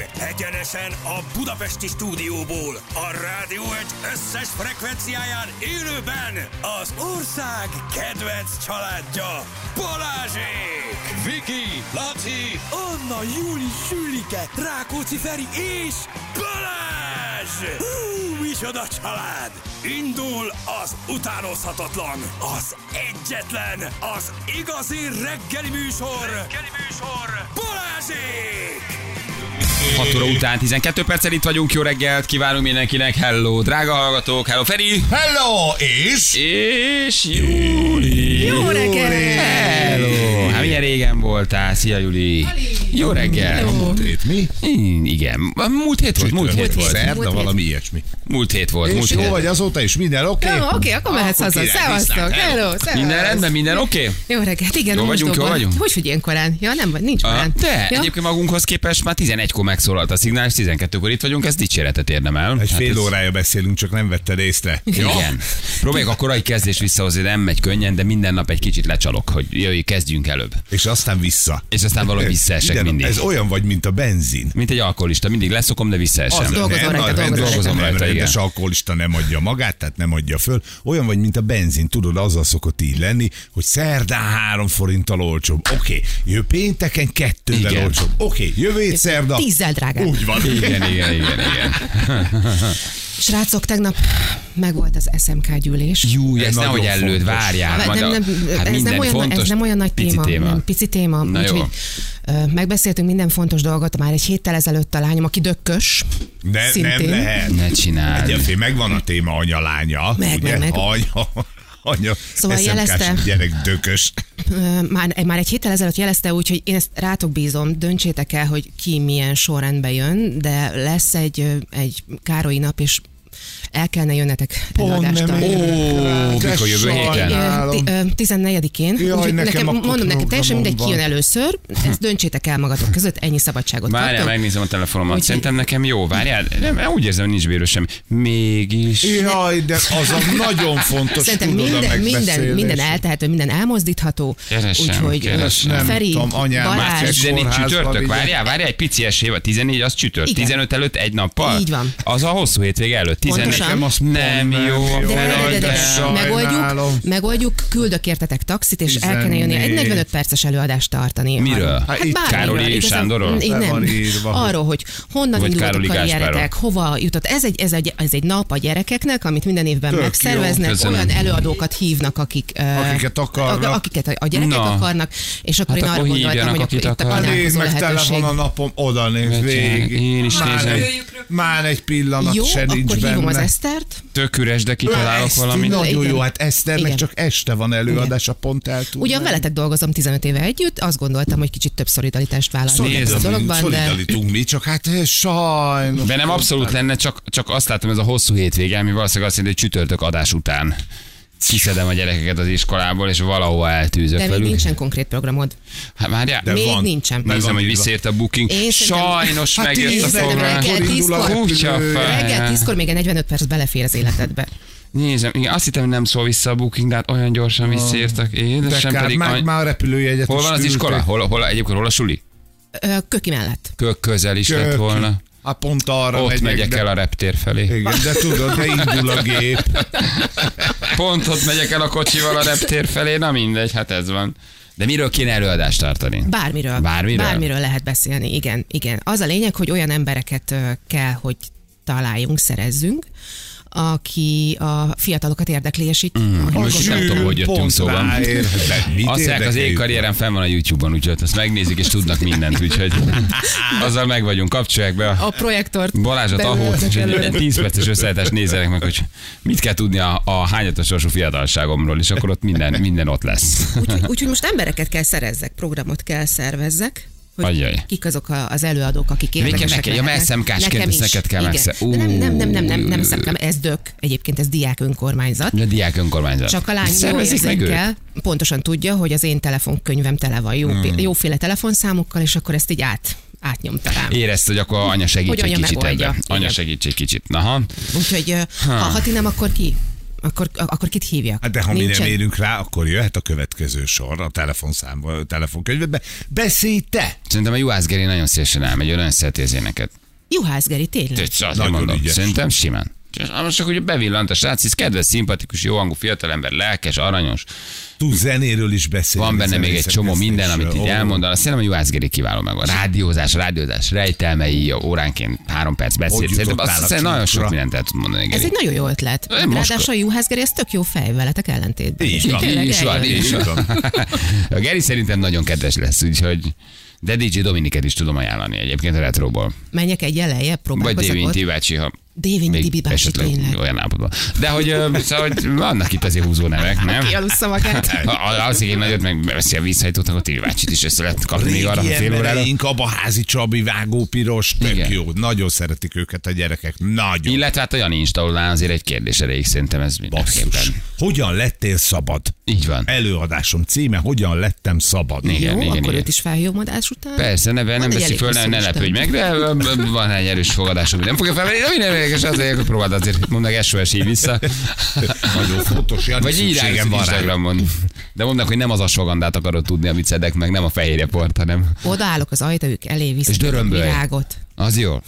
Egyenesen a Budapesti stúdióból, a Rádió egy összes frekvenciáján élőben az ország kedvenc családja Balázsék! Viki, Laci, Anna, Júli, Sülike, Rákóczi Feri és Balázs! Hú, micsoda család! Indul az utánozhatatlan, az egyetlen, az igazi reggeli műsor! Reggeli műsor! Balázsék! 6 óra után 12 perccel itt vagyunk, jó reggelt kívánunk mindenkinek, hello drága hallgatók, hello Feri, Hello, és? és Júli. Jó reggelt! Hello, hát milyen régen voltál, szia Júli. Jó reggel. Múlt hét mi? Mm, Igen, múlt hét volt, múlt hét volt. Szerda, Múlt hét. valami ilyesmi. Múlt hét volt, múlt És jó hét. vagy azóta is, minden oké? Jó, oké, akkor mehetsz haza. király, Szevasztok. viszlát, hello. Hello, szevasz. Minden rendben, minden oké? Jó reggelt, igen, Jól a vagyunk, mosdóban. jól vagyunk? Hogy, hogy ilyen korán? Ja, nem vagy, nincs Ah, korán. De, ja? egyébként magunkhoz képest már 11-kor megszólalt a szignál, és 12-kor itt vagyunk, ez dicséretet érdemel. Egy Hát fél ez- órája beszélünk, csak nem vette észre. Jó? Igen. Próbáljuk a korai kezdés visszahozni, nem megy könnyen, de minden nap egy kicsit lecsalok, hogy jöjj, kezdjünk előbb. És aztán vissza. És aztán valahogy visszaesek Ide- mindig. Ez olyan vagy, mint a benzin. Mint egy alkoholista, mindig leszokom, de visszaesem. Az- Dolgozom nem, rajta, a rendes, dolgozom nem, rajta, rendes igen. alkoholista nem adja magát, tehát nem adja föl. Olyan vagy, mint a benzin. Tudod, azzal szokott így lenni, hogy szerdán három forinttal olcsóbb. Oké, okay. jövő pénteken kettővel Igen. olcsóbb. Oké, okay. jövő hét szerda. Tízzel drágább. Úgy van. Igen, igen, igen, igen. Srácok, tegnap megvolt az SMK gyűlés. Jú, Ez ezt nagyon nehogy előd, fontos. várjál. Nem, majd nem, a- nem, hát ez, minden nem olyan, fontos, ez nem olyan nagy pici téma, Nem, pici téma. Na jó. úgyhogy, ö, megbeszéltünk minden fontos dolgot, már egy héttel ezelőtt a lányom, aki dökkös. Ne, nem szintén. lehet. Ne csináld. Egyébként megvan a téma anya-lánya. Meg, ugye? meg, meg. Anya, anya, Szóval SMK-s jelezte. gyerek dökös. Ö, Már, már egy héttel ezelőtt jelezte úgy, hogy én ezt rátok bízom, döntsétek el, hogy ki milyen sorrendbe jön, de lesz egy, ö, egy Károlyi nap, és el kellene jönnetek előadást tartani. Ó, De mikor jövő héten? sajnálom. Igen, ti- ö, 14-én. Jaj, Úgyhogy nekem nekem, akkor mondom neked, teljesen programom mindegy, ki jön van. először, ezt döntsétek el magatok között, ennyi szabadságot Várjál, kaptok. megnézem a telefonomat. Úgyhogy- Szerintem nekem jó, várjál. Nem, úgy érzem, nincs bíró sem. Mégis. Jaj, de az a nagyon fontos Szerintem tudod, a minden, minden, megbeszélés. minden eltehető, minden elmozdítható. Keresem, Úgyhogy ö, keresem. Feri, Nem tudom, anyám, Március Március Balázs, 14 kórházba csütörtök, vigye. várjál, várjál, egy pici esély van, 14 az csütört, Igen. 15 előtt egy nappal. Így van. Az a hosszú hétvége előtt, 14. Pontosan. Nekem azt nem pont nem jó. jó. de, de, de, de, de, Jaj, de sajnálom. megoldjuk, megoldjuk, küldök értetek taxit, és el kellene jönni egy 45 perces előadást tartani. Miről? Hát, Hát hát itt bármiről. Károli igazán- Sándorról? Így Le van nem. írva, hogy- Arról, hogy honnan Vagy indult a Károli karrieretek, hova jutott. Ez egy, ez, egy, ez egy nap a gyerekeknek, amit minden évben Tök megszerveznek. jó. Köszönöm. Olyan előadókat hívnak, akik, ö, Akiket akarnak. a- akiket a- a gyerekek Na. akarnak, és akkor Hát én akkor arra gondoltam, hívjanak, hogy akit akkor itt a akarnak. Hát Anyám, nézd kanákozó meg, tele lehetőség. van a napom, oda néz Betyár, végig. én is már, nézem. egy, már egy pillanat Jó, se nincs akkor benne. hívom az Esztert. Tök üres, de kitalálok Eszti, valamit. Nagyon Igen. jó, hát Eszternek Igen. csak este van előadása, pont el tud Ugyan menni. veletek dolgozom 15 éve együtt, azt gondoltam, hogy kicsit több szolidaritást vállalni Szolidaritást, ebben a dologban, de Szolidaritunk mi, csak hát eh, sajnos. Velem abszolút lenne, csak, csak azt látom, ez a hosszú hétvége, ami valószínűleg azt jelenti, hogy csütörtök adás után kiszedem a gyerekeket az iskolából, és valahova eltűzök de még velük. nincsen konkrét programod. Hát várjál, De még van. nincsen. Meg nézem, van hogy írva. visszért a booking. Én szerintem- Sajnos Hát megjött a tíz, tízre program. reggel indul a tízkor. Kutya repülő. fel. Reggel 10-kor még egy 45 perc belefér az életedbe. Nézem, igen, azt hittem, hogy nem szól vissza a booking, de hát olyan gyorsan visszaértek. Ah. De Édesem kár, pedig... már, any- már a repülőjegyet Hol is van az küldték. iskola? Hol, hol, egyébként hol a suli? Ö, Köki mellett. Kö, közel is Köki. lett volna. Hát pont arra Ott megyek de, el a reptér felé. Igen, de tudod, de indul a gép. Pont ott megyek el a kocsival a reptér felé, na mindegy, hát ez van. De miről kéne előadást tartani? Bármiről. Bármiről? Bármiről lehet beszélni, igen, igen. Az a lényeg, hogy olyan embereket ö, kell, hogy találjunk, szerezzünk, aki a fiatalokat érdekli, és így Most alkossunk. nem tudom, hogy jöttünk Pont szóval. ráér. De mit Azt mondják, az érdekeljük? én karrierem fenn van a YouTube-on, úgyhogy azt megnézik és tudnak mindent, úgyhogy azzal meg vagyunk, kapcsolják be a a projektort. Balázsat, belőle ahót, és belőle. egy 10 perces összeállítást nézzenek meg, hogy mit kell tudni a, a hányatos sorsú fiatalságomról, és akkor ott minden, minden ott lesz. Úgyhogy úgy, most embereket kell szerezzek, programot kell szervezzek. Hogy Ajjaj. kik azok a, az előadók, akik érdekesek neked? Ja, lehetnek. mert SMK-s Nekem kérdéseket is, kell igen. megszer- De Nem, nem, nem, nem, nem, nem Ú. SMK, ez dök. Egyébként ez diák önkormányzat. A diák önkormányzat. Csak a lány jó Szervezzék meg őt. érzékkel, pontosan tudja, hogy az én telefonkönyvem tele van jó, hmm. jóféle telefonszámokkal, és akkor ezt így át, átnyomta rám. Érezte, hogy akkor anya segít Hogy egy anya kicsit megoldja. ebbe. Anya Igen. segít egy kicsit. Naha. Úgyhogy ö, ha, ha ti nem, akkor ki? Akkor, akkor kit hívjak? Hát de ha mi Nincsen- nem érünk rá, akkor jöhet a következő sor a telefonszám, a telefonkönyvedbe. Beszélj te! Szerintem a Juhász Geri nagyon szívesen elmegy, ő nagyon szereti az éneket. Juhász Geri, tényleg. Tök, azt Nagyon mondom, ügyes. szerintem simán. És Most csak ugye bevillant a srác, ez kedves, szimpatikus, jó hangú fiatalember, lelkes, aranyos. Tud zenéről is beszélni. Van benne még egy csomó minden, amit így Ó, elmondanak. Szerintem a Juhász Geri kiváló meg van. Rádiózás, rádiózás, rejtelmei, óránként három perc beszéd. Hogy Szerintem jutottál azt a hiszem, nagyon csúcsra? sok mindent el tud mondani. Ez Geri. egy nagyon jó ötlet. Én most- Ráadásul a Juhász Geri, ez tök jó fej veletek ellentétben. Így van. Tényleg Így is van, eljön. így is van. A Geri szerintem nagyon kedves lesz, úgyhogy de DJ Dominiket is tudom ajánlani egyébként a retróból. Menjek egy lejjebb, Vagy próbálkozok Dévin ott. Tibácsi, ha Dévin még Tibi bácsi, esetleg tényleg. olyan állapotban. De hogy, ö, szóval, hogy vannak itt azért húzó nevek, nem? Kialussza magát. Ha alszik egy nagyot, meg veszi a vízhajtót, akkor Tibi bácsit is össze lehet kapni még arra a Régi fél órára. embereink, Abaházi Csabi, Vágó Piros, tök Igen. jó. Nagyon szeretik őket a gyerekek. Nagyon. Illetve hát a Jani Installán azért egy kérdés erejéig szerintem ez Basszus. mindenképpen. Hogyan lettél szabad? Így van. Előadásom címe, hogyan lettem szabad? Igen, Jó, igen, akkor igen. őt is felhívom adás után. Persze, ne, nem egy veszi elég föl, ne, ne hosszú lepődj meg, de ö, ö, van egy erős fogadás, ami nem fogja felvenni, de minden érdekes azért, akkor próbáld azért, mondd meg SOS így vissza. Nagyon fontos, Jani, Vagy így szükségem rájössz van rá. Instagramon. De mondnak, hogy nem az a sogandát akarod tudni, amit szedek meg, nem a fehérje port, hanem Odaállok az ajtajuk elé, És viszek egy dörömbölj. virágot. az jó.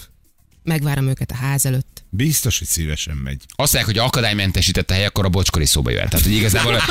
Megvárom őket a ház előtt. Biztos, hogy szívesen megy. Azt mondják, hogy akadálymentesített a hely, akkor a bocskori szóba jöhet. Tehát, hogy igazából...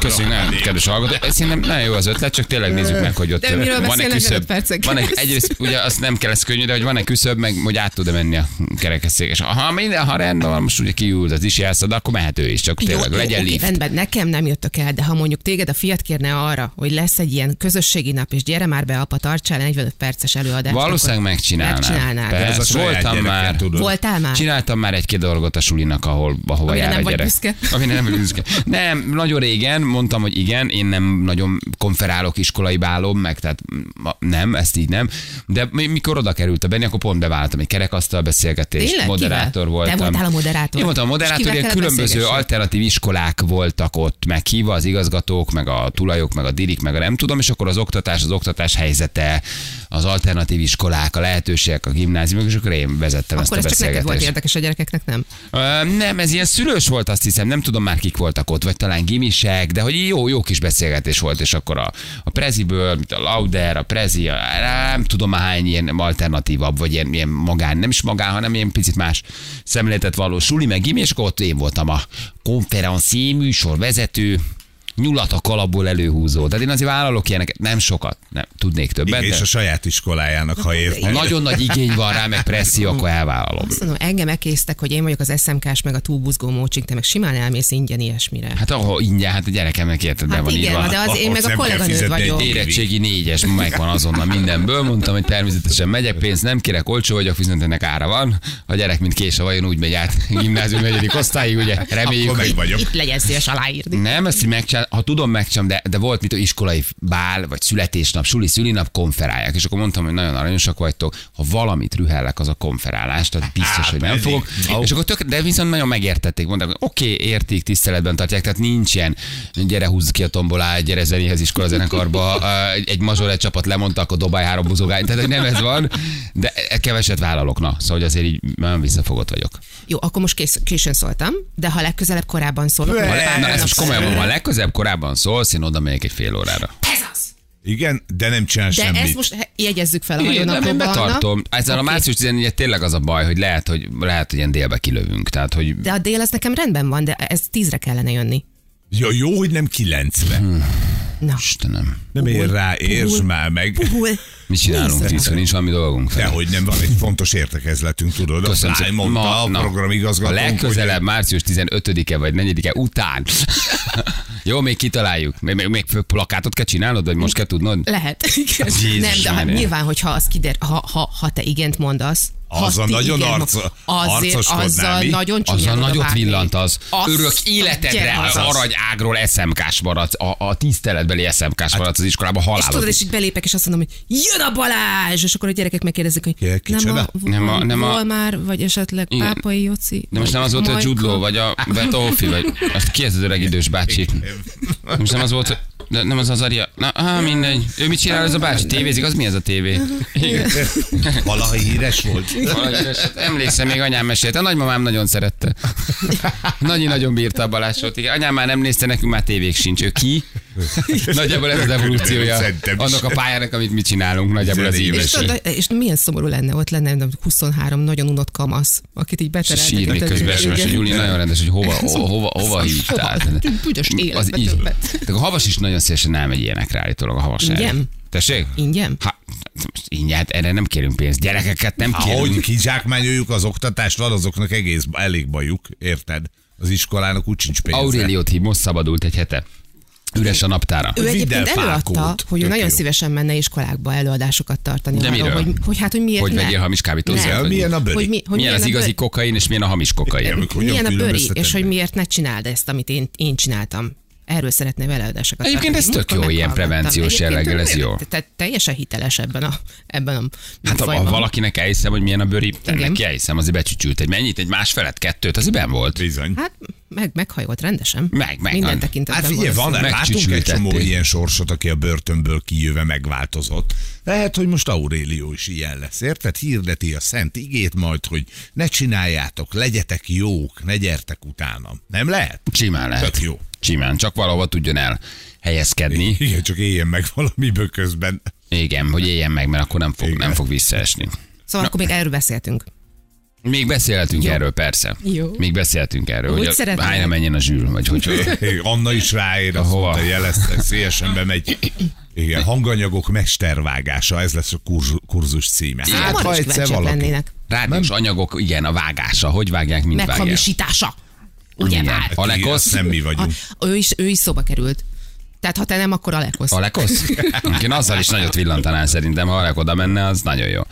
Köszönjük, nagyon kedves hallgató. Ez Szerintem nagyon jó az ötlet, csak tényleg nézzük meg, hogy ott De miről van-e beszélnek öt küszöb. percen Van egy, keresztül? egyrészt ugye azt nem kell, ez könnyű, de hogy van-e küszöb, meg hogy át tud-e menni a kerekesszék. És ha minden, ha rendben van, most ugye kiült az is jelsz, de akkor mehet ő is, csak tényleg legyen oké, lift. rendben, nekem nem jöttök el, de ha mondjuk téged a fiat kérne arra, hogy lesz egy ilyen közösségi nap, és gyere már be, apa, tartsál 45 perces előadást. Valószínűleg megcsinálnám. Megcsinálnád. De Ez a Persze, saját voltam gyerekem, már. Tudod. Voltál már? Csináltam már egy-két dolgot a sulinak, ahol, ahova Amire jár nem a vagy gyerek. büszke? Amire nem vagy büszke. Nem, nagyon régen mondtam, hogy igen, én nem nagyon konferálok, iskolai bálom, meg tehát ma- nem, ezt így nem. De mi- mikor oda került a Benni, akkor pont beváltam egy kerekasztal beszélgetést, Tényleg? moderátor Kivel? Te voltam. voltál a moderátor? Én voltam a És moderátor, kivel ilyen kellett különböző beszélgetni? alternatív iskolák voltak ott meghívva, az igazgatók, meg a tulajok, meg a dirik, meg a nem tudom, és akkor az oktatás, az oktatás helyzete, az alternatív iskolák, a lehetőségek, a gimnáziumok, és akkor én vezettem Akkor ezt ez a csak neked volt beszélgetést. érdekes, a gyerekeknek nem. Ö, Nem, ez ilyen szülős volt, azt hiszem, nem tudom már kik voltak ott, vagy talán gimisek, de hogy jó, jó kis beszélgetés volt, és akkor a, a Preziből, mint a Lauder, a Prezi, a, nem tudom már hány ilyen alternatívabb, vagy ilyen, ilyen magán, nem is magán, hanem ilyen picit más szemléletet való suli, meg gimi, és akkor ott én voltam a konferenci műsorvezető, nyulat a kalapból előhúzó. Tehát én azért vállalok ilyeneket, nem sokat, nem tudnék többet, Igen, és de a saját iskolájának, ha érted. nagyon nagy igény van rá, meg presszió, akkor elvállalom. Azt mondom, engem ekésztek, hogy én vagyok az SMK-s, meg a túlbuzgó mócsik, te meg simán elmész ingyen ilyesmire. Hát ahol ingyen, hát a gyerekemnek érted, be Hát van igen, írva. de az én Ahhoz meg a nem kell kolléganőd fizetni egy vagyok. év. Érettségi négyes, megvan azonnal mindenből. Mondtam, hogy természetesen megyek, pénzt nem kérek, olcsó vagyok, viszont ennek ára van. A gyerek, mint késő vajon, úgy megy át gimnázium negyedik osztályig, ugye reméljük, Akkor meg hogy vagyok. Itt legyen szíves aláírni. nem, ezt így megcsinál, ha tudom, megcsinálom, de, de volt mit, hogy iskolai bál, vagy születésnap, suli, szülinap konferálják. És akkor mondtam, hogy nagyon aranyosak vagytok, ha valamit rühellek, az a konferálás, tehát biztos, Á, hogy nem Hát pedig. fogok. Au. És akkor tök, de viszont nagyon megértették, mondták, hogy oké, okay, értik, tiszteletben tartják, tehát nincs ilyen, gyere húzz ki a tombolát, gyere zenéhez iskola zenekarba, ö, egy- egy mazsolett csapat lemondta, akkor dobálj három buzogány, tehát hogy nem ez van, de keveset vállalok, na, szóval hogy azért így nagyon visszafogott vagyok. Jó, akkor most kés- későn szóltam, de ha legközelebb korábban szólok, Ne, majd pár Na, ez hónap most komolyan van, előre. ha legközebb korábban szólsz, én oda megyek egy fél órára. Ez az! Igen, de nem csinál De semmit. ezt most he- jegyezzük fel a Igen, nem, én hajónaplóba, Anna. betartom. Ezzel a Oké. március 14 -e tényleg az a baj, hogy lehet, hogy, lehet, hogy ilyen délbe kilövünk. Tehát, hogy De a dél az nekem rendben van, de ez tízre kellene jönni. Ja, jó, hogy nem 90. Na, Istenem, Nem ér rá, értsd már meg. hol? mit csinálunk Nézd. tízkor, nincs valami dolgunk. fel. Dehogy nem van egy fontos értekezletünk, tudod? Köszönöm a szépen. mondta a na, programigazgató. A legközelebb március 15-e vagy 4-e után. Jó, még kitaláljuk. Még, még, még plakátot kell csinálnod, vagy most kell tudnod? Lehet. Igen. Jézus nem, de hát Mária. nyilván, hogyha az kider, ha, ha, ha te igent mondasz, ha Azzal ti nagyon igent- arca- azért, arcoskodnál, azzal mi? nagyon csúnyán Azzal oda nagyot vágni. villant az. Azt Örök a életedre gyerek. az aranyágról SMK-s maradsz, a, a tiszteletbeli SMK-s maradsz az iskolában Hát, És halálod. tudod, és így belépek, és azt mondom, hogy jön a Balázs! És akkor a gyerekek megkérdezik, hogy Ki- nem kicsoda? a, Nem a- nem a- Volmár, vagy esetleg Igen. Pápai Joci. De most nem az volt, hogy Jude Law, vagy a Betolfi, vagy azt ki ez az öreg idős bácsi? Most nem az volt, hogy de nem az az Aria. Na, á, mindegy. Ő mit csinál ez a bácsi? Tévézik? Az mi ez a tévé? Igen. Valaha híres volt. Valahogy üres. Hát Emlékszem, még anyám mesélte. A nagymamám nagyon szerette. Nagyi nagyon bírta a Balázsot. Igen, anyám már nem nézte, nekünk már tévék sincs. Ő ki? Nagyjából ez az evolúciója Szerintem is. annak a pályának, amit mi csinálunk, nagyjából az Zenébe És, éves. tudod, és milyen szomorú lenne, ott lenne nem tudom, 23 nagyon unott kamasz, akit így És beterelnek. sírni ott az közben, és üvegen. most Júli nagyon rendes, hogy hova, hova, hova, hova hívtál. Büdös Az életbe így. többet. Tehát a havas is nagyon szívesen elmegy ilyenekre állítólag a havas. Ingyen? elmegy. Tessék? Ingyen? Hát, Ha, most ingyen, hát erre nem kérünk pénzt. Gyerekeket nem Ahogy kérünk. kizsákmányoljuk az oktatást, van azoknak egész elég bajuk, érted? Az iskolának úgy sincs pénze. Auréliót hív, most szabadult egy hete. Üres a naptára. Ő egyébként Videl előadta, Fákót. hogy ő Tök nagyon jó. szívesen menne iskolákba előadásokat tartani. De arról, miről? hogy, hogy hát, hogy miért Hogy ne? vegyél hamis kábítószert? Ja, vagy milyen mi? a bőri? Hogy, mi, hogy milyen az milyen a igazi böri- kokain, és milyen a hamis kokain? Amikor Milyen a hogyan bőri, különböztetem és hogy meg? miért ne csináld ezt, amit én, én csináltam. Erről szeretné vele adásokat Egyébként tartani. ez tök Múltkor jó, ilyen meghallgattam. prevenciós Egyébként jelleggel, ez ő jó. te- teljesen hiteles ebben a, ebben a Hát ha, ha műfajban. valakinek elhiszem, hogy milyen a bőri, Igen. neki elhiszem, azért becsücsült egy mennyit, egy másfelet, kettőt, azért ben volt. Bizony. Hát meg, meghajolt rendesen. Meg, meg. Minden Hát tekintetben. figyelj, van, valószínű. látunk egy Megcsücsültették. csomó ilyen sorsot, aki a börtönből kijöve megváltozott. Lehet, hogy most Aurélió is ilyen lesz, érted? Hirdeti a szent igét majd, hogy ne csináljátok, legyetek jók, ne gyertek utánam. Nem lehet? Simán lehet. Tök jó. Simán, csak valahova tudjon el helyezkedni. Igen, csak éljen meg valamiből közben. Igen, hogy éljen meg, mert akkor nem fog, Igen. nem fog visszaesni. Szóval akkor még erről beszéltünk. Még beszélhetünk erről, persze. Jó. Még beszélhetünk erről, Úgy hogy a, szeretném. hányra menjen a zsűr, vagy hogy Anna is ráér, azt Hova? mondta, jelezte, szívesen bemegy. Igen, hanganyagok mestervágása, ez lesz a kurz- kurzus címe. Hát, Igen. Hát, Hm, Számomra Hát, is kíváncsiak lennének. rádiós anyagok, igen, a vágása, hogy vágják, mint vágják. Meghamisítása. Ugye Igen. Hát, már? Alekosz? Alekosz? Nem mi vagyunk. A- Ő is, ő is szóba került. Tehát ha te nem, akkor Alekosz. Alekosz? Én azzal is nagyot villantanál szerintem, ha Alek oda menne, az nagyon jó.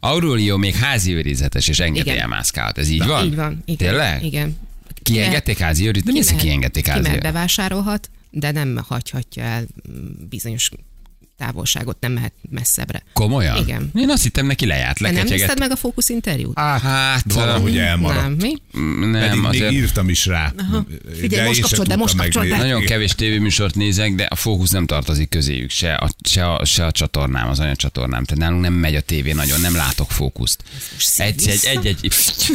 Aurulio még házi őrizetes és engedélye Igen. mászkálhat, ez így van? Így van. Igen. Tényleg? Igen. Kiengedték házi őrizetes? Mi az, hogy Kimehet- kiengedték házi kimehet, őrizetes? bevásárolhat, de nem hagyhatja el mm, bizonyos távolságot, nem mehet messzebbre. Komolyan? Igen. Én azt hittem neki lejárt, Te nem nézted leketyeget. meg a fókuszinterjút? Hát, Valahogy elmaradt. Nem, mi? nem, Pedig nem még azért. írtam is rá. Figyelj, most én se kapcsold be, tudtam most megnézni. kapcsold be. Nagyon kevés tévéműsort nézek, de a fókusz nem tartozik közéjük, se a, se a, se a csatornám, az anyacsatornám. Tehát nálunk nem megy a tévé nagyon, nem látok fókuszt. Egy-egy, egy-egy,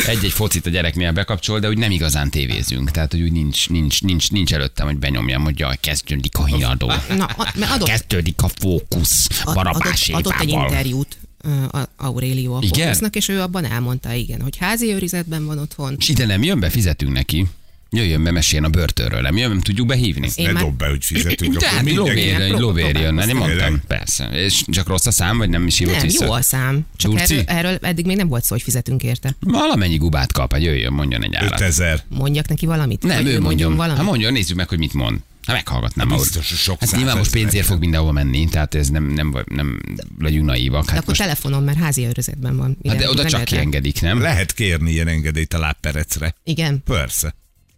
egy-egy focit a gyereknél bekapcsol, de úgy nem igazán tévézünk. Tehát, hogy úgy nincs, nincs, nincs, nincs előttem, hogy benyomjam, hogy jaj, kezdődik a híradó. Na, a- mert adott- kezdődik a fókusz Ad- Barabás adott, adott egy Évával. interjút ö, a Aurélió a Igen? Fókusznak, és ő abban elmondta, igen, hogy házi őrizetben van otthon. És ide nem jön be, fizetünk neki. Jöjjön be, meséljen a börtönről, nem jön, nem tudjuk behívni. Én Ne már- hát dob be, hogy fizetünk. Tehát akkor mindenki- lóvér, egy Prób- lóvér jön, nem próbálkozunk. mondtam, persze. És csak rossz a szám, vagy nem is hívott Nem, vissza? jó a szám. Csak Durci? erről, erről eddig még nem volt szó, hogy fizetünk érte. Valamennyi gubát kap, hát jöjjön, mondjon egy árat. 5000. Mondjak neki valamit? Nem, Vagy ő mondjon mondjon. valamit? Hát mondjon, nézzük meg, hogy mit mond. Hát meghallgatnám. Hát Maur. biztos, hogy sok hát nyilván százezer most pénzért legyen. fog mindenhova menni, tehát ez nem, nem, nem, nem legyünk naívak. De Hát akkor most, telefonon, mert házi őrizetben van. hát de Igen, oda nem csak lehet rá. kiengedik, nem? Lehet kérni ilyen engedélyt a lábperecre. Igen, Persze.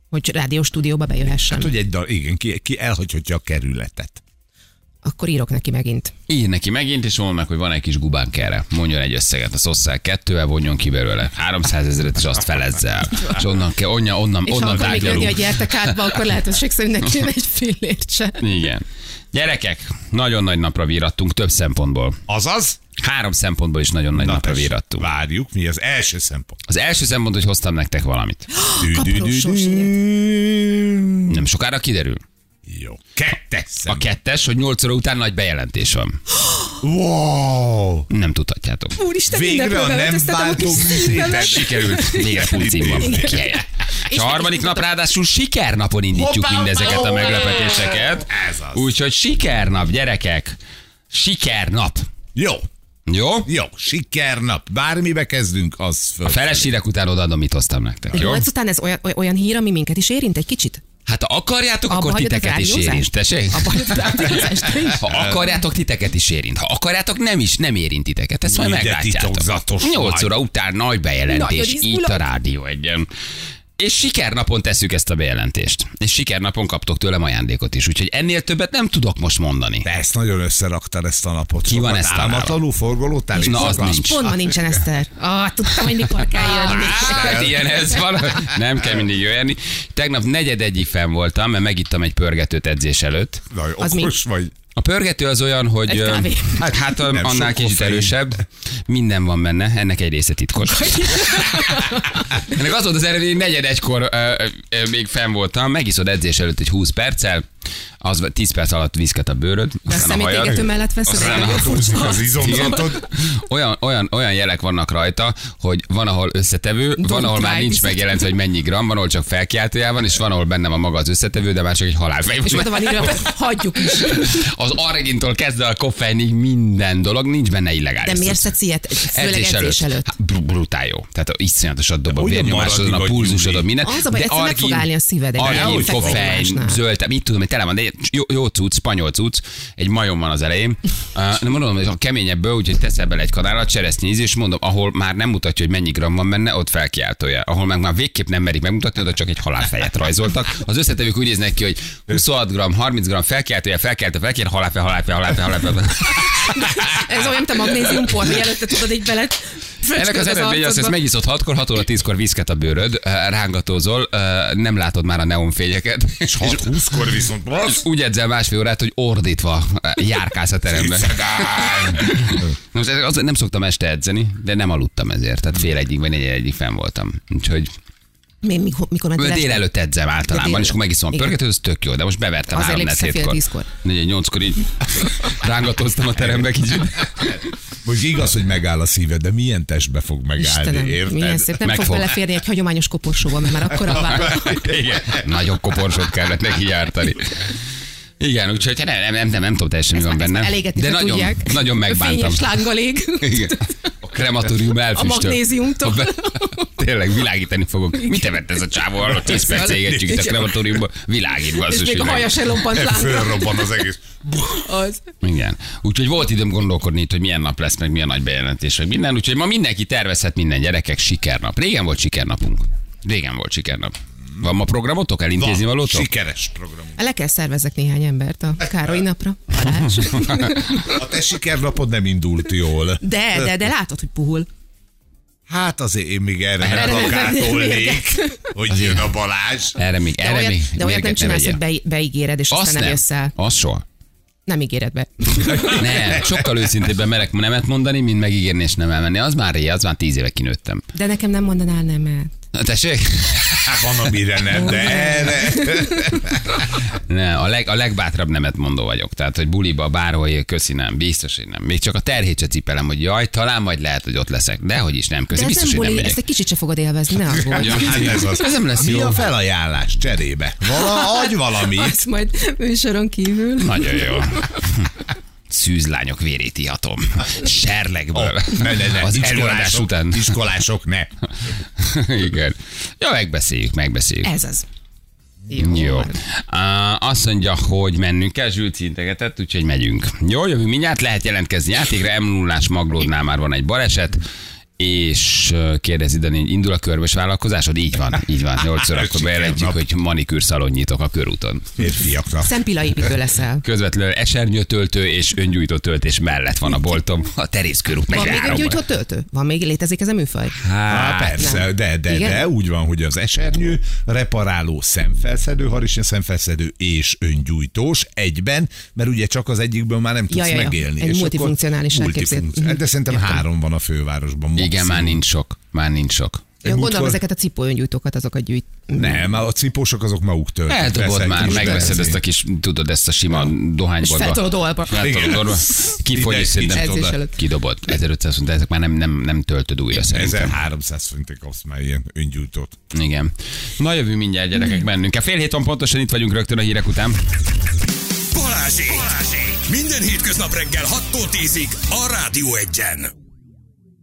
hogy rádió stúdióba bejöhessen. Hát ugye egy dal, igen, ki, ki elhagyhatja a kerületet. Akkor írok neki megint. Ír neki megint, és mondd meg, hogy van egy kis gubánk erre. Mondjon egy összeget, a szosszál kettővel, vonjon ki belőle. 300 ezeret, és azt felezz el. És onnan, kell, onnan, onnan, És ha onnan akkor még jönni, tárgyalunk. hogy gyertek átba, akkor lehetőség szerint neki nem egy fillért se. Igen. Gyerekek, nagyon nagy napra vírattunk több szempontból. Azaz? Három szempontból is nagyon nagy napra tess, vírattunk. Várjuk, mi az első szempont. Az első szempont, hogy hoztam nektek valamit. Dü- dü- dü- dü- Nem sokára kiderül. Jó. Kettes A szempont. kettes, hogy 8 óra után nagy bejelentés van. Wow! Nem tudhatjátok. Úristen, Végre a nem váltó műtétet. Sikerült. Végre pulcimban. És a harmadik nap ráadásul sikernapon indítjuk Hoppá, mindezeket a hoppá, hoppá. meglepetéseket. Ez az. Úgyhogy sikernap, gyerekek. Sikernap. Jó, Jó? jó, sikernap. Bármibe kezdünk, az föl. A feles hírek után odaadom, mit hoztam nektek. Jó? Azután ez olyan, oly- olyan hír, ami minket is érint egy kicsit. Hát ha akarjátok, akkor hagyod a titeket is rádiózást? érint. Tessék? A bajod a rádiózást te is? Ha akarjátok, titeket is érint. Ha akarjátok, nem is, nem érint titeket. Ezt majd Ide meglátjátok. titokzatos 8 vagy. óra után nagy bejelentés Nagyon izgulok. itt a rádió egyen. És sikernapon tesszük ezt a bejelentést. És sikernapon kaptok tőlem ajándékot is. Úgyhogy ennél többet nem tudok most mondani. Te ezt nagyon összeraktad ezt a napot. Ki van ezt a nálam? Álmatlanul forgolódtál? Na, az éjszaka? nincs. Pont ma nincsen Eszter. Ah, tudtam, hogy mikor kell jönni. Hát ilyen ez van. Nem kell mindig jönni. Tegnap negyed egyik fenn voltam, mert megittam egy pörgetőt edzés előtt. Na, Az mi? okos vagy. A pörgető az olyan, hogy Egy kávé. ö, hát, hát ö, Nem, annál sok kicsit koffein. erősebb. Minden van benne, ennek egy része titkos. ennek az volt az eredmény, hogy negyed egykor ö, ö, ö, még fenn voltam, megiszod edzés előtt egy 20 perccel, az 10 perc alatt viszket a bőröd, De a aztán a hajad, szemétégető mellett veszed Aztán el. a Húzzuk az izomzatot. olyan, olyan, olyan jelek vannak rajta, hogy van, ahol összetevő, Don't van, ahol már try nincs this. megjelentve, hogy mennyi gram, van, ahol csak felkiáltójában, és van, ahol bennem a maga az összetevő, de már csak egy halálfej. És oda van írva, hogy hagyjuk is. Az argintól kezdve a koffeinig minden dolog, nincs benne illegális. De miért cucc. szedsz ilyet? Főleg edzés előtt. Hát, br- brutál jó. Tehát iszonyatosat dob a Hogyan vérnyomásodon, a marad pulzusodon, vagy minden. Az a baj, egyszerűen meg fog állni a szíved egy ilyen Argin, fekete koffein, nyomásnál. zöld, mit tudom, hogy tele van, de egy jó, jó cucc, spanyol cucc, egy majom van az elején. Uh, de mondom, hogy a keményebből, úgyhogy teszel bele egy kanálat, cseresznyi íz, és mondom, ahol már nem mutatja, hogy mennyi gram van benne, ott felkiáltója. Ahol meg már végképp nem merik megmutatni, oda csak egy halálfejet rajzoltak. Az összetevők úgy néznek ki, hogy 26 gram, 30 gram felkiáltója, felkiáltó, felkiáltó, halálfej, halálfej, halálfej, halálfej. Ez olyan, mint a magnéziumpor, hogy előtte tudod egy belet. Ennek az eredménye az, hogy ezt megiszod 6-kor, 6 óra 10-kor viszket a bőröd, eh, rángatózol, eh, nem látod már a neonfényeket. És 20-kor viszont és úgy edzel másfél órát, hogy ordítva eh, járkálsz a teremben. Na most ez- az, nem szoktam este edzeni, de nem aludtam ezért. Tehát fél egyig vagy negyed egyig fenn voltam. Úgyhogy Mi, mikor, mikor mentél este? délelőtt edzem általában, Délelőtt. és akkor megiszom a Igen. pörgetőt, ez tök jó, de most bevertem Azért három lépsz a fél hétkor. tízkor. Negyed nyolckor így rángatoztam a terembe kicsit. Most igaz, hogy megáll a szíved, de milyen testbe fog megállni, Istenem, érted? milyen szép. Nem Megfog. fog beleférni egy hagyományos koporsóba, mert már akkor a vá- Igen. Nagyobb koporsot kellett neki jártani. Igen, úgyhogy nem, nem, nem, nem, nem tudom teljesen, mi van ezt már benne. elégetni De se nagyon, tudják. nagyon megbántam. Fényes lánggal ég. Igen. A krematórium elfüstöl. magnéziumtól. A be- Tényleg világítani fogok. Mit evett ez a csávó alatt? 10 Igen. perc égetjük itt a krematóriumban. Világít, És basszus. még a világ. haja se lobbant lángra. Fölrobban az egész. Az. Igen. Úgyhogy volt időm gondolkodni itt, hogy milyen nap lesz, meg milyen nagy bejelentés, meg minden. Úgyhogy ma mindenki tervezhet minden gyerekek sikernap. Régen volt sikernapunk. Régen volt sikernap. Van ma programotok? Elintézni Van, valótok? sikeres programunk. Le kell szervezek néhány embert a Károly napra. Balázs. A te sikernapod nem indult jól. De, de, de látod, hogy puhul. Hát azért én még erre Erre nem nem- rakátolnék, hogy jön a Balázs. Erre még, De erre olyat, még. de olyat nem mérget ne csinálsz, hogy vegyél. be, beígéred, és Azt aztán nem nem. jössz el. Azt soha. Nem ígéred be. Nem, sokkal őszintébben merek nemet mondani, mint megígérni és nem elmenni. Az már ré, az már tíz éve kinőttem. De nekem nem mondanál nemet. Na, tessék? Hát van, amire nem, de erre. Ne, a, leg, a legbátrabb nemet mondó vagyok. Tehát, hogy buliba, bárhol, köszi, nem, biztos, hogy nem. Még csak a terhét se cipelem, hogy jaj, talán majd lehet, hogy ott leszek. Dehogy is nem, köszi, De ez biztos, nem hogy nem buli, megyek. ezt egy kicsit se fogod élvezni, ne aggódj. Ja, hát ez az. Ez nem lesz Mi jó. a felajánlás cserébe? Vala, adj valamit. Azt majd műsoron kívül. Nagyon jó. Szűzlányok vérét ihatom. Serlegből. Ne, ne, ne. Az előadás Iskolások- után. Iskolások, ne. Igen. Ja, megbeszéljük, megbeszéljük. Ez az. Jó. van. Á, Azt mondja, hogy mennünk kell, Zsülc integetett, úgyhogy megyünk. Jó, jövünk mindjárt, lehet jelentkezni játékra, m 0 Maglódnál már van egy baleset, és ö, kérdezi Dani, hogy indul a körös vállalkozásod? Így van, így van. 8 órakor bejelentjük, hogy manikűr szalon nyitok a körúton. Férfiakra. Szempila építő leszel. Közvetlenül esernyőtöltő és öngyújtó töltés mellett van a boltom. A terész körút megy Van még három. Hát, egy gyógyhot töltő? Van még, létezik ez a műfaj? Há, persze, de, de, Hát Igen? de úgy van, hogy az esernyő, reparáló, szemfelszedő, harisnya szemfelszedő és öngyújtós egyben, mert ugye csak az egyikből már nem tudsz Ja, ja, ja. megélni. Egy és multifunkcionális akkor- elképzelt- multifunkcionális. De szerintem három van a fővárosban. Maximum. Igen, már nincs sok. Már nincs sok. Én Ja, gondolom, múltkor- ezeket a cipó öngyújtókat azokat gyűjt. Nem, a cipósok azok maguk töltik. Eldobod Persze, már, kis megveszed benzin. ezt a kis, tudod, ezt a sima dohányborba. És feltolod olba. Feltolod Igen. olba. Kifogy, és Ide- szerintem ide- Edzés tudod, előtt. kidobod. 1500 font, ezek már nem, nem, nem töltöd újra szerintem. 1300 forintig kapsz már ilyen öngyújtót. Igen. Na jövő mindjárt gyerekek bennünk. A fél héton pontosan itt vagyunk rögtön a hírek után. Balázsék! Balázsék! Minden hétköznap reggel 6-tól 10-ig a Rádió Egyen.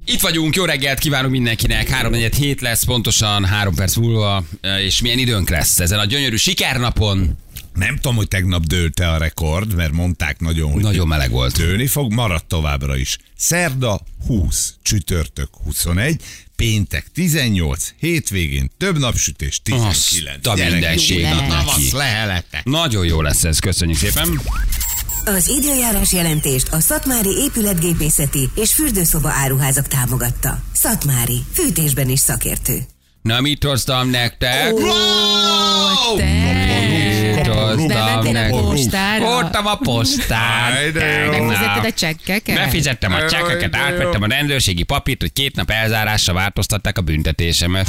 Itt vagyunk, jó reggelt kívánunk mindenkinek. 347 lesz pontosan, 3 perc múlva, eh, és milyen időnk lesz ezen a gyönyörű sikernapon. Nem tudom, hogy tegnap dőlte a rekord, mert mondták nagyon, hogy Nagyon meleg volt. dőlni fog, marad továbbra is. Szerda 20, csütörtök 21, péntek 18, hétvégén több napsütés 19. Azt a Gyerekek, mindenség Jó ad lehet. neki. Tavasz lehelete. Nagyon jó lesz ez, köszönjük szépen. Az időjárás jelentést a Szatmári épületgépészeti és fürdőszoba áruházak támogatta. Szatmári, fűtésben is szakértő. Na, mit hoztam nektek? Ó, te! Mit hoztam Bementél a nektek? postára? Voltam a postán. Áj, de tegnap. jó. Megnézed Fizetted a csekkeket? Befizettem a csekkeket, átvettem a rendőrségi papírt, hogy két nap elzárásra változtatták a büntetésemet.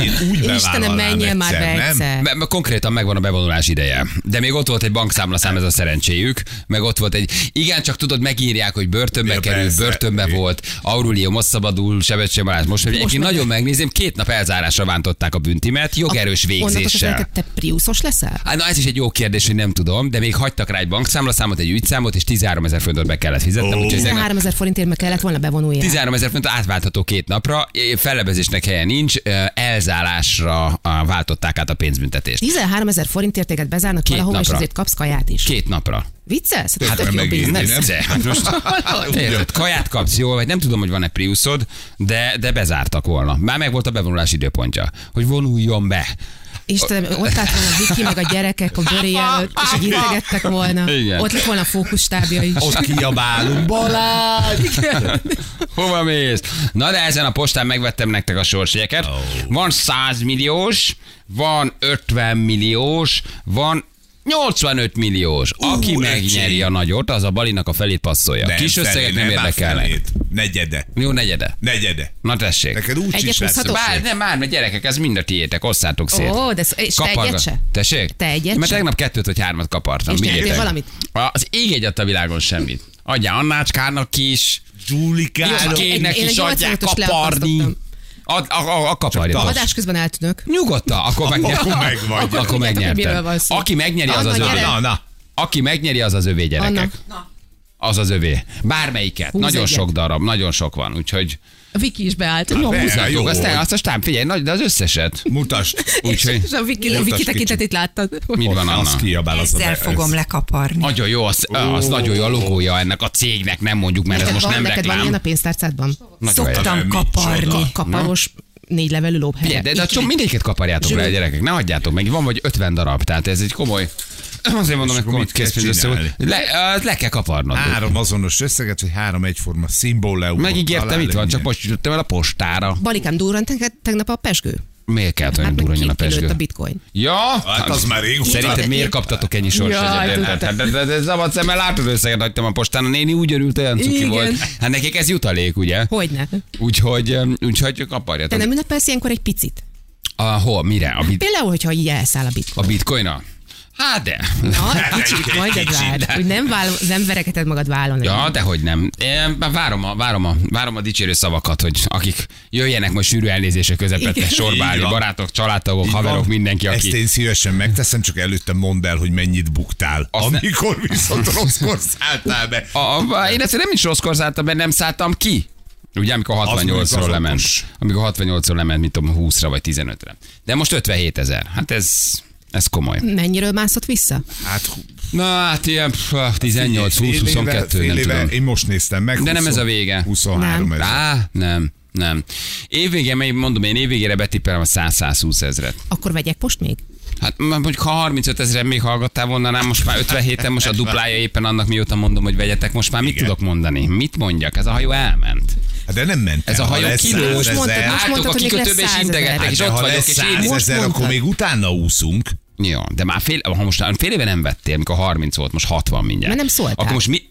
Én úgy Istenem, bevállalnám menjél már be egyszer, nem? egyszer. Be- be- Konkrétan megvan a bevonulás ideje. De még ott volt egy bankszámlaszám, ez a szerencséjük, meg ott volt egy. Igen, csak tudod, megírják, hogy börtönbe Ja, kerül, persze. börtönbe Igen. volt, Aurulia most szabadul, Sebetség Balázs most, hogy egyébként nagyon megnézem, két nap elzárásra bántották a büntimet, jogerős Onnantól végzéssel. neked te priuszos leszel? Á, Hát, Na ez is egy jó kérdés, hogy nem tudom, de még hagytak rá egy bankszámlaszámot, egy ügyszámot, és 13 ezer fontot be kellett fizetnem. Ó. Oh. Úgyhogy ezek- 13 ezer forintért meg kellett volna bevonuljál. 13 ezer font átváltható két napra, fellebezésnek helye nincs, ö, elzálásra á, váltották át a pénzbüntetést. 13 ezer forintért téged bezárnak Két valahol, és napra. azért kapsz kaját is. Két napra. Viccelsz? Hát, Tök tök jó megérni, biznisz. nem? De, hát most, Te érted, kaját kapsz jó, vagy nem tudom, hogy van-e Priusod, de, de bezártak volna. Már meg volt a bevonulás időpontja, hogy vonuljon be. Istenem, ott állt volna Viki, meg a gyerekek a bőri előtt, és így integettek volna. Igen. Ott lett volna a fókusztábja is. Ott kiabálunk, Balázs! Hova mész? Na de ezen a postán megvettem nektek a sorsjegyeket. Ó. Van 100 milliós, van 50 milliós, van 85 milliós. Aki Ú, megnyeri öcsém. a nagyot, az a balinak a felét passzolja. Kis felé, összegek nem már érdekelnek. felét. Negyede. Jó negyede. Negyede. Na tessék. Neked úgy Egyet is lesz. húzhatok? Bár, nem, már, mert gyerekek, ez mind a tiétek, osszátok szét. Ó, de sz- és te Kaparga- egyet se? Tessék? Te egyet Mert se? tegnap kettőt vagy hármat kapartam. És Mindjárt. nyertél valamit? Az ég egyet a világon semmit. Adjál Annácskának is, Zsulikának. Jó, hát Kének Én- én is egy adják 85-ös kaparni. leakasztottam. A, a, a, a kaparja. Csak Adás közben eltűnök. Nyugodtan, akkor megnyertem. Akkor meg vagy. Akkor, Akkor tudjátok, hogy miről megnyertem. van szó. Aki megnyeri, az Anna, az gyere. övé. Na, na. Aki megnyeri, az az övé, Anna, gyerekek. Az az övé. Bármelyiket. Húz nagyon egyet. sok darab, nagyon sok van, úgyhogy... Viki is beállt. Jó, be- húzhatjuk, jó aztán volt. azt a stáb, figyelj, nagy, de az összeset. Mutasd. Úgyhogy... És a Viki, a Mutasd Viki kicsit. tekintetét láttad. Mit van, Anna? Az kiabál az Ezzel fogom lekaparni. Nagyon jó, az, az nagyon jó a logója ennek a cégnek, nem mondjuk, mert ez Neked most van, nem neked van ilyen a reklám. pénztárcádban? Nagyon jó. Szoktam Micsoda. kaparni. Kaparos négy levelű lóbhely. Figyelj, de, de csak mindegyiket kaparjátok rá, gyerekek, ne hagyjátok meg, van vagy 50 darab, tehát ez egy komoly... Azért mondom, hogy akkor komoly mit kell készpénz össze volt. csinálni? Le, ö, le kell kaparnod. Három azonos összeget, vagy három egyforma szimbólum. Megígértem, itt van, csak most jutottam el a postára. Balikám durrant neked tegnap a pesgő? Miért kellett olyan Hát meg durranjon a kilőtt pesgő? a bitcoin. Ja? Hát az már régóta. Szerinted miért kaptatok ennyi Jaj, sorsegyet? tudtam. Hát, de, de, de szabad szemmel látod összeget hagytam a postán, a néni úgy örült, olyan cuki Igen. volt. Hát nekik ez jutalék, ugye? Hogyne. Úgyhogy, öm, úgyhogy Te kaparjatok. nem ünnepelsz ilyenkor egy picit? A, hol, mire? A, bit, Például, hogyha így elszáll a a bitcoin. bitcoin Hát de. Na, egy kicsit, majd egy vár. Hogy nem, vállal, nem vereketed magad vállon. Ja, dehogy nem. Én már várom a, várom, a, várom a dicsérő szavakat, hogy akik jöjjenek most sűrű elnézések közepette Igen. sorba állni, Így van. barátok, családtagok, haverok, mindenki, Ezt aki... én szívesen megteszem, csak előtte mondd el, hogy mennyit buktál. Azt ne- amikor viszont rosszkor szálltál be. A, a, én ezt nem is rosszkor szálltam, mert nem szálltam ki. Ugye, amikor Az még 68-ról az lement. okos. Amikor 68-ról lement, mint tudom, 20-ra vagy 15-re. De most 57 ezer. Hát ez, ez komoly. Mennyiről mászott vissza? Hát, hú, Na hát ilyen pff, 18, 20, fél éve- 22, fél nem éve- tudom. Én most néztem meg. De nem 20 ez a vége. 23 ezer. Á, nem, nem. Évvége, mely- mondom én, évvégére betippelem a 100-120 ezret. Akkor vegyek most még? Hát m- mondjuk ha 35 ezeren még hallgattál volna rám, most már 57 en most a duplája éppen annak mióta mondom, hogy vegyetek, most már mit Igen. tudok mondani? Mit mondjak? Ez a hajó elment. Hát De nem ment Ez a el. Ha hajó lesz kilőtt. Most 100 mondtad, ezer, Hát most Álltok mondtad, a hogy még lesz kikötőbe és 100 integetek, ezer. és de ott ha vagyok, lesz és 100 én most ezer, akkor mondtad. még utána úszunk. Jó, de már fél, ha most fél éve nem vettél, mikor 30 volt, most 60 mindjárt. Mert nem szóltál. Akkor most mi...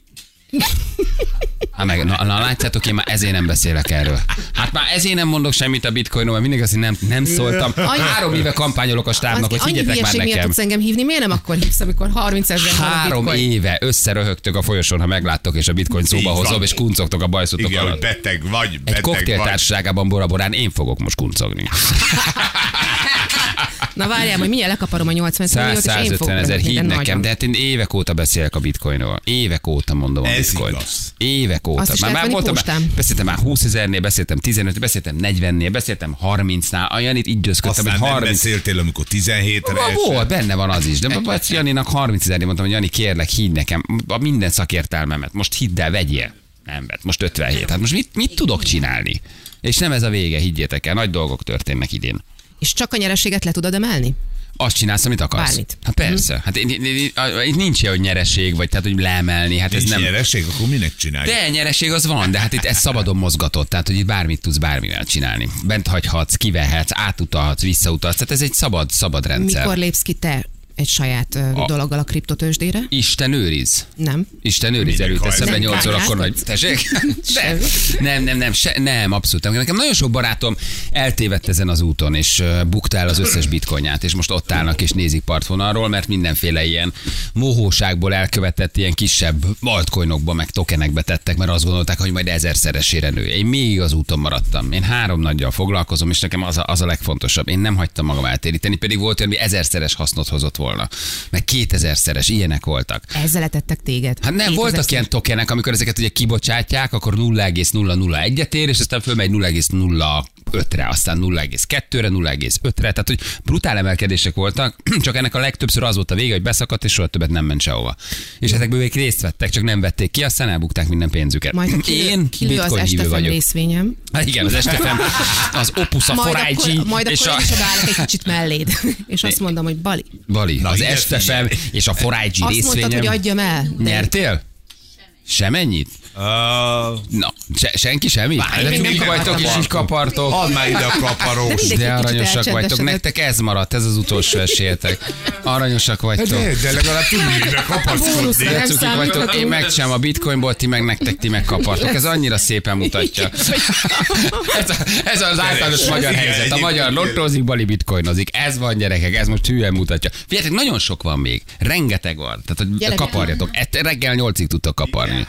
Hát meg, na, na, látjátok, én már ezért nem beszélek erről. Hát már ezért nem mondok semmit a bitcoinról, mert mindig azt, hogy nem, nem szóltam. Három éve kampányolok a stábnak, hogy annyi higgyetek már hülyeség miatt nekem. tudsz engem hívni, miért nem akkor hívsz, amikor 30 ezer van a Három bitcoin? éve összeröhögtök a folyosón, ha megláttok, és a bitcoin szóba Így van. hozom, és kuncogtok a bajszotok Igen, hogy alatt. beteg vagy, Egy beteg vagy. koktéltársaságában boraborán én fogok most kuncogni. Na várjál, majd mindjárt lekaparom a 80 milliót, és én 100-150 fogok ezer, röhögni, de hív nagyon. nekem, de hát én évek óta beszélek a bitcoinról. Évek óta mondom a Ez bitcoin. igaz. Évek óta. Azt is lehet venni már, postán. beszéltem már 20 ezernél, beszéltem 15, beszéltem 40-nél, beszéltem 30-nál. A Janit így győzködtem, Aztán hogy nem 30 beszéltél, amikor 17-re Ma esett. volt, benne van az is. De vagy Janinak 30 ezernél mondtam, hogy Jani, kérlek, higgy nekem a minden szakértelmemet. Most hidd el, vegyél. Nem vett, most 57. Hát most mit, mit tudok csinálni? És nem ez a vége, higgyétek el, nagy dolgok történnek idén. És csak a nyereséget le tudod emelni? Azt csinálsz, amit akarsz. Bármit. Hát persze. Hát én- én- én- a- itt nincs ilyen, hogy nyereség, vagy tehát, hogy leemelni. Hát Nincs ez nem. nyereség, akkor minek csináljuk? De nyereség az van, de hát itt ez szabadon mozgatott, tehát hogy itt bármit tudsz bármivel csinálni. Bent hagyhatsz, kivehetsz, átutalhatsz, visszautalhatsz, tehát ez egy szabad, szabad rendszer. Mikor lépsz ki te egy saját a... A- dologgal a kriptotősdére. Isten őriz. Nem. Isten őriz Minek előtt hajt? eszembe Nem 8 kártyáztat? órakor nagy. Tessék? Sem. Nem, nem, nem, nem, se, nem, abszolút. nem. Nekem nagyon sok barátom eltévedt ezen az úton, és ö, bukta el az összes bitcoinját, és most ott állnak és nézik partvonalról, mert mindenféle ilyen mohóságból elkövetett ilyen kisebb altcoinokba, meg tokenekbe tettek, mert azt gondolták, hogy majd ezerszeresére nő. Én még az úton maradtam. Én három nagyjal foglalkozom, és nekem az a, az a legfontosabb. Én nem hagytam magam eltéríteni, pedig volt olyan, ami ezerszeres hasznot hozott volna, meg kétezerszeres, ilyenek voltak. Ezzel letettek téged. Hát nem, 2000 voltak ilyen tokenek, amikor ezeket ugye kibocsátják, akkor 0,001-et ér, és aztán fölmegy 0,05-re, aztán 0,2-re, 0,5-re, tehát hogy brutál emelkedések voltak, csak ennek a legtöbbször az volt a vége, hogy beszakadt, és soha többet nem ment sehova. És ezekből még részt vettek, csak nem vették ki, aztán elbukták minden pénzüket. Majd kilő, Én kilő az bitcoin hívő estefem vagyok. részvényem. Hát igen, az estefem, az Opus, a majd Forágyi, akkor, majd és akkor a... én is odaállok egy kicsit melléd. És azt mondom, hogy Bali. Bali, Na, az ide estefem figyelj. és a Forágyi Azt részvényem. mondtad, hogy adjam el. de- Nyertél? Semennyit? Uh, Na, se, senki semmi? én Hát még mi nem vagytok kapartam. és így kapartok. add már ide a kaparós. mindegy, De kicsit aranyosak vagytok. elcsendesedett. Nektek ez maradt, ez az utolsó esélyetek. Aranyosak vagytok. Hát, De, de legalább tudni, mibe Bónusz. kapaszkodni. nem Cukik vagytok, én számíthatunk. megcsinálom a bitcoinból, ti meg nektek, ti meg kapartok. Ez annyira szépen mutatja. ez, a, ez az általános magyar Igen, helyzet. A egyébként magyar igen. lottozik, bali bitcoinozik. Ez van, gyerekek, ez most hülyen mutatja. Figyeljetek, nagyon sok van még. Rengeteg van. Tehát, hogy Gyerekek. kaparjatok. Ett- Reggel nyolcig tudtok kaparni.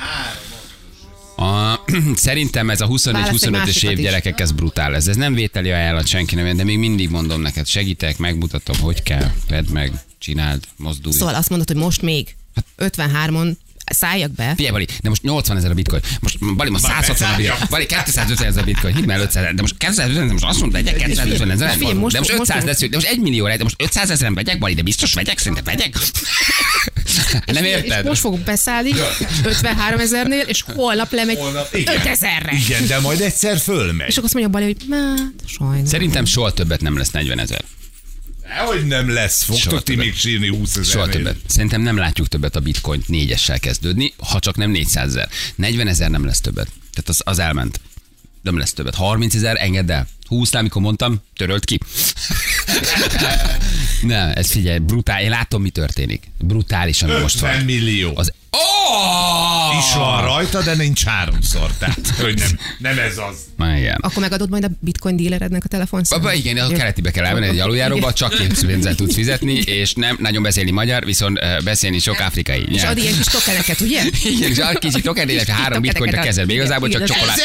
A, szerintem ez a Válasz egy 24-25-ös másikat év is. gyerekek, ez brutál. Ez, ez nem vételi ajánlat senki nem, de még mindig mondom neked, segítek, megmutatom, hogy kell. Vedd meg, csináld, mozdulj. Szóval azt mondod, hogy most még 53-on szálljak be. Figyelj, Bali, de most 80 ezer a bitcoin. Most Bali, most 160 a bitcoin. Bali, 250 ezer a bitcoin. Hidd már 500 000. De most 250 ezer, most azt mondod, vegyek 250 ezer. Figyelj, most- De most most- 500 lesz, de most 1 millió lehet, de most 500 ezeren vegyek, Bali, de biztos vegyek, szerintem vegyek. Nem És érted? most fogok beszállni 53 ezernél, és holnap lemegy 5 ezerre. Igen, de majd egyszer És fölmegy. akkor azt mondja Bali, hogy már sajnos. Szerintem soha többet nem lesz 40 ezer. Hogy nem lesz, Soha fogtok ti többet. még sírni 20 ezer. Soha többet. Szerintem nem látjuk többet a bitcoint négyessel kezdődni, ha csak nem 400 ezer. 40 ezer nem lesz többet. Tehát az, az elment. Nem lesz többet. 30 ezer, engedd el. 20 amikor mondtam, törölt ki. nem, ez figyelj, brutál. Én látom, mi történik. Brutális, ami most 50 van. millió. Az... Oh! is van rajta, de nincs háromszor. Tehát, hogy nem, nem ez az. Na, igen. Akkor megadod majd a bitcoin dealerednek a telefonszámot? Abba, igen, a keletibe kell elmenni egy aluljáróba, csak pénzzel tudsz fizetni, és nem nagyon beszélni magyar, viszont eh, beszélni sok afrikai. És nyelv. ad ilyen kis tokeneket, ugye? Igen, és a kicsi token, illetve három tokeneket bitcoint a ad. kezedbe, Igen, igazából csak igen, csokoládé.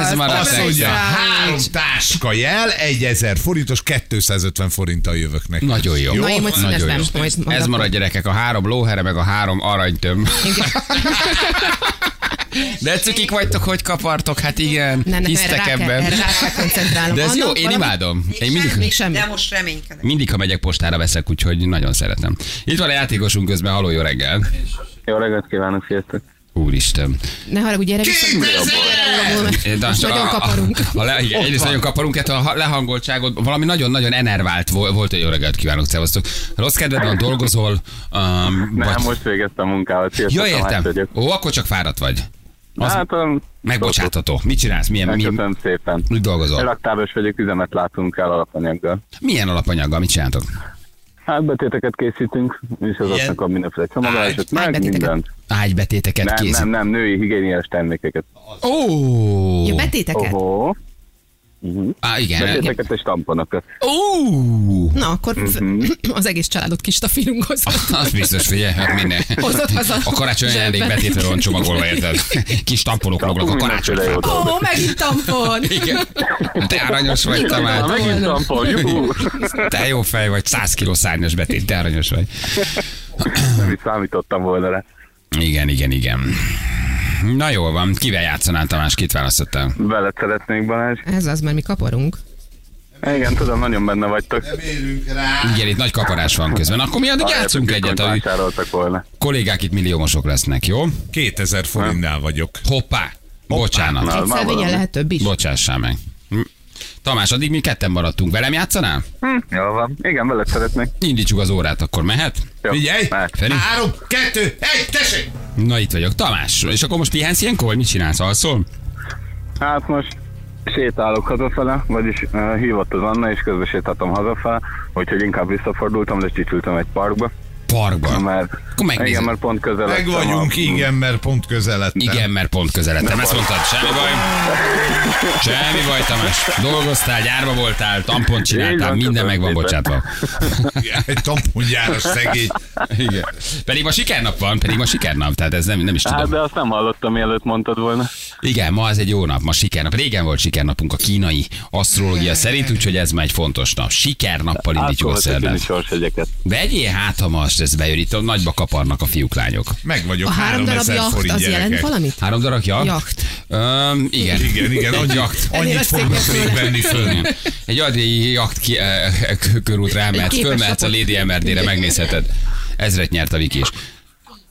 Ez maradt Azt Persze. mondja, extra. három táska jel, 1000 forintos, 250 forinttal jövök neki. Nagyon jó. Na, én majd Nagyon színezem. jó. Majd- majd Ez akkor. marad gyerekek, a három lóhere, meg a három aranytöm. De cukik vagytok, hogy kapartok? Hát igen, Nem, nekem erre hisztek rá kell, ebben. erre rá kell koncentrálnom. De ez jó, Annak én valami- imádom. Én Még mindig, semmi. De most reménykedek. mindig, ha megyek postára veszek, úgyhogy nagyon szeretem. Itt van a játékosunk közben, haló, jó reggel. Jó reggelt kívánok, sziasztok! Úristen. Ne haragudj, gyere vissza. De Most a- nagyon kaparunk. A, a le, igen, egyrészt nagyon kaparunk, hát a ha- lehangoltságot, valami nagyon-nagyon enervált volt, volt egy jó reggelt kívánok, szevasztok. Rossz kedved van, dolgozol, um, Nem, vagy... most végeztem a munkámat, sziasztok! Ja, Tamás értem. vagyok. Ó, akkor csak fáradt vagy. Az Hát, um, megbocsátható. Mit csinálsz? Milyen, mi, Köszönöm szépen. mit dolgozol? Elaktábos vagyok, üzemet látunk el alapanyaggal. Milyen alapanyaggal? Mit csináltok? Hát betéteket készítünk, és azoknak a mindenféle csomagolások, meg Ágybetéteket. mindent. Ágybetéteket Nem, készít. nem, nem, női higiéniás termékeket. Ó, Ja, betéteket. Oho. Mhm. Á, igen. Betéteket és tamponokat. Ó, Na, akkor Mhm. az egész családot kis tafírunkoz. az biztos, figyelj, hát minden. Hozott haza. A karácsony ajándék Zsebben. betétre van csomagolva, érted? Kis tamponok lognak a karácsony. Mindenféle jó dolog. Ó, megint tampon! Igen. Te aranyos vagy, Na, Tamás. Megint tampon, juhú! Te jó fej vagy, 100 kiló szárnyas betét, te aranyos vagy. Nem is számítottam volna rá. Igen, igen, igen. Na jól van, kivel játszanál Tamás, kit választottál? Veled szeretnék, Balázs. Ez az, mert mi kaparunk. Igen, tudom, nagyon benne vagytok. Igen, itt nagy kaparás van közben. Akkor mi addig játszunk egyet, a Vásároltak volna. kollégák itt milliómosok lesznek, jó? 2000 forintnál vagyok. Hoppá, bocsánat, Na, Egy Hát már szelvényen valami. lehet több is. bocsássál meg. Hm. Tamás, addig mi ketten maradtunk. Velem játszanál? Hm, Jól van. Igen, veled szeretnék. Indítsuk az órát, akkor mehet? Jó, Figyelj! mehet. Feri? Három, kettő, egy, tessék! Na itt vagyok. Tamás, és akkor most pihensz ilyenkor, vagy mit csinálsz? Alszol? Hát most sétálok hazafele, vagyis uh, hívott az Anna, és közben sétáltam hazafele, úgyhogy inkább visszafordultam, de csicsültem egy parkba, Parkban. mert, Akkor megnézed. igen, mert pont közel Meg vagyunk, igen, mert pont közeledtem. Igen, mert pont közeledtem. Ezt mondtad, semmi baj. Semmi baj, Tamás. Dolgoztál, gyárba voltál, tampont Így csináltál, van, minden meg van köszönöm bocsátva. Igen, Egy tampongyáros szegény. Igen. Pedig ma sikernap van, pedig ma sikernap, tehát ez nem, nem is Hát, tudom. de azt nem hallottam, mielőtt mondtad volna. Igen, ma ez egy jó nap, ma sikernap. Régen volt sikernapunk a kínai asztrológia szerint, úgyhogy ez már egy fontos nap. Sikernappal indítjuk a Átszólhatok én szerdát. is sorsegyeket. Vegyél hát a mas, ez bejön itt, nagyba kaparnak a fiúk, lányok. Meg vagyok A három darab 3000 jacht forint az jelent gyerekek. valamit? Három darab jakt? Jakt. Öm, igen. Igen, igen, Egy annyi, jakt. Ennél annyit a fognak széknek még föl. venni föl. Egy adjai jakt ki, eh, körútra elmehetsz, képes fölmehetsz a lapot. Lady Emerdére, megnézheted. Ezret nyert a Viki is.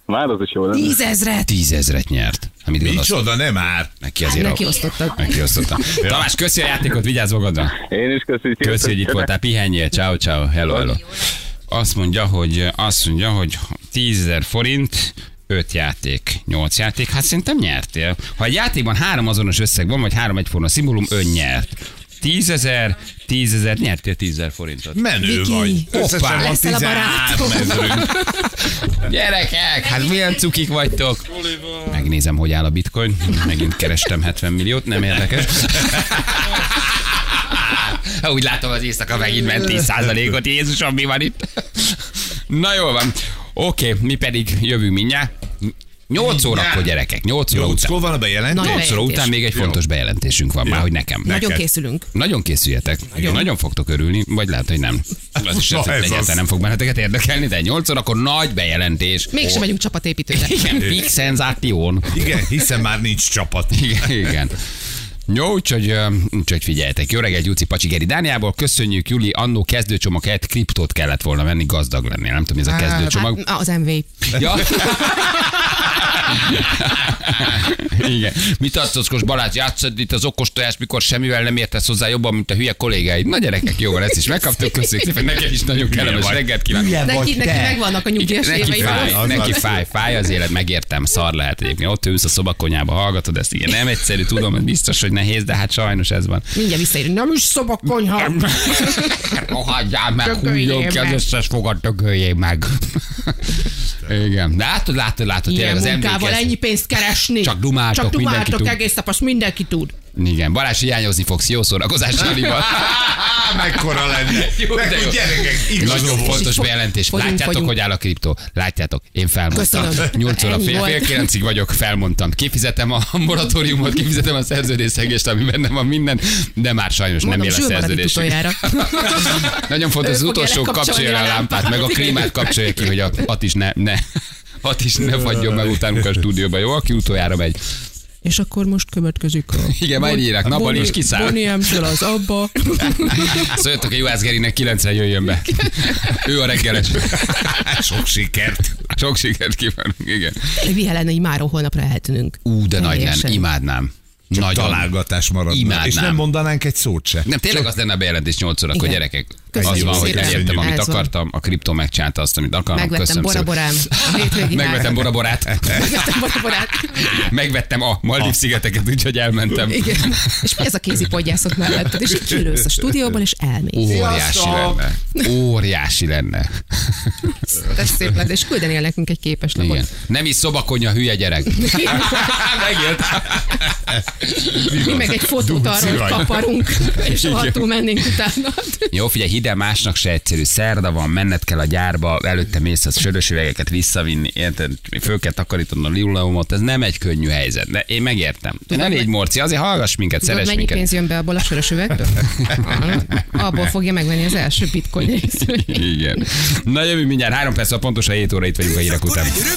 Már az is jó lenne. Tízezret! Tízezret nyert. Amit gondolsz, Micsoda, nem már. neki azért... Hát neki osztottak. Neki osztottak. Tamás, köszi a játékot, vigyázz magadra. Én is köszönjük. Köszi, hogy itt voltál, pihenjél, ciao, ciao, hello, hello. Azt mondja, hogy, azt mondja, hogy 10.000 forint, 5 játék, 8 játék, hát szerintem nyertél. Ha egy játékban három azonos összeg van, vagy három egyforma szimbólum, ön nyert. 10 ezer, 10 ezer, nyertél 10 ezer forintot. Menő Viki. vagy. Összesen van Leszel a 13 barátom. mezőnk. Gyerekek, hát milyen cukik vagytok? Megnézem, hogy áll a bitcoin. Megint kerestem 70 milliót, nem érdekes. Úgy látom, az éjszaka megint ment 10%-ot. Jézusom, mi van itt? Na jól van. Oké, mi pedig jövünk mindjárt. 8 órakor, gyerekek, 8 óra után. Jóckó van a bejelentés? Nagyon. 8 óra után hát. még egy fontos bejelentésünk van már, hogy nekem. Nagyon Neked. készülünk. Nagyon készüljetek. Nagyon. Nagyon fogtok örülni, vagy lehet, hogy nem. Az is Na, no, ez egyáltalán az. nem fog benneteket érdekelni, de 8 órakor nagy bejelentés. Mégsem megyünk csapatépítőre. Hát, Igen, big szenzáción. Igen, hiszen már nincs csapat. Igen, igen. Jó, úgyhogy, ö, úgyhogy figyeljetek. Jó reggelt, Júci Pacsigeri Dániából. Köszönjük, Juli. Annó kezdőcsomag helyett kriptót kellett volna venni, gazdag lennél. Nem tudom, mi ez a kezdőcsomag. Hát, az MV. Ja. Igen. Mit arcockos barát, játszod itt az okos tojás, mikor semmivel nem értesz hozzá jobban, mint a hülye kollégáid. Na gyerekek, jó van, ezt is megkaptuk, köszönjük szépen, neked is nagyon kellemes vagy. reggelt kívánok. Neki, neki megvannak a nyugdíjas Neki évei. fáj, Az neki az. fáj, fáj az élet, megértem, szar lehet egyébként. Ott ülsz a szobakonyába, hallgatod ezt, igen, nem egyszerű, tudom, ez biztos, hogy nehéz, de hát sajnos ez van. Mindjárt visszaérünk. Nem is szobakonyha. Rohadjál meg, Dögöljél Oh, hújjon ki az meg. összes fogad, dögöljél meg. Igen, látod, látod, látod, Ilyen tényleg az munkával emlékezés. ennyi pénzt keresni. Csak dumáltok, Csak mindenki dumáltok tud. egész nap, azt mindenki tud. Igen, Balázs hiányozni fogsz, jó szórakozás Janival. Mekkora lenne. Jó, de Meg, jó. hogy gyerekek, Nagyon igazol. fontos fog- bejelentés. fogyunk, Látjátok, fogyunk. hogy áll a kriptó? Látjátok, én felmondtam. Köszönöm. 8 óra Ennyi fél, volt. fél 9 vagyok, felmondtam. Kifizetem a moratóriumot, kifizetem a szerződésszegést, ami benne van minden, de már sajnos Mondom, nem él a Zsül marad itt szerződés. utoljára. Nagyon fontos, Ő az fogja utolsó lekapcsolni kapcsolja le a lámpát, meg a klímát kapcsolja ki, hogy a hat is ne, ne, hat is ne fagyjon meg utánunk a stúdióba, jó? Aki utoljára megy. És akkor most következik a... Igen, már írják, nappal is kiszáll. Bonnie az abba. Szóljatok a Juhász Gerinek, 9 jöjjön be. Ő a reggeles. Sok sikert. Sok sikert kívánunk, igen. Vihe lenne, hogy már holnapra eltűnünk. Ú, de nagy lenne, Teljesen. imádnám. Nagyon. Találgatás maradna. Imádnám. És nem mondanánk egy szót se. Nem, tényleg az lenne a bejelentés 8 órakor, Igen. gyerekek. Köszönjük az van, hogy szépen. elértem, amit Ez van. akartam, a kriptó megcsinálta azt, amit akartam. Megvettem Köszönöm Bora szépen. Borám. a hétvégi Megvettem árat. Bora Borát. Megvettem Bora Borát. Megvettem a Maldív szigeteket, úgyhogy elmentem. Igen. És mi ez a kézi podgyászat melletted? És így kilősz a stúdióban, és elmész. Óriási lenne. Óriási lenne. Ez szép lenne, és küldenél nekünk egy Igen. képeslapot. Nem is szobakonya, hülye gyerek. Megjött. Mi meg egy fotót arról, hogy kaparunk, és rohadtul mennénk utána. Jó, figyelj, hidd el, másnak se egyszerű. Szerda van, menned kell a gyárba, előtte mész a sörös üvegeket visszavinni, érted? Föl kell takarítanod a lilulaumot, ez nem egy könnyű helyzet, de én megértem. Tudod, ne légy morci, azért hallgass minket, Tudod, szeress mennyi minket. pénz jön be abból a sörös üvegből? Abból fogja megvenni az első bitcoin részvényt. Igen. Na jövünk mindjárt, három perc a pontosan 7 óra itt vagyunk a hírek után. Akkor egy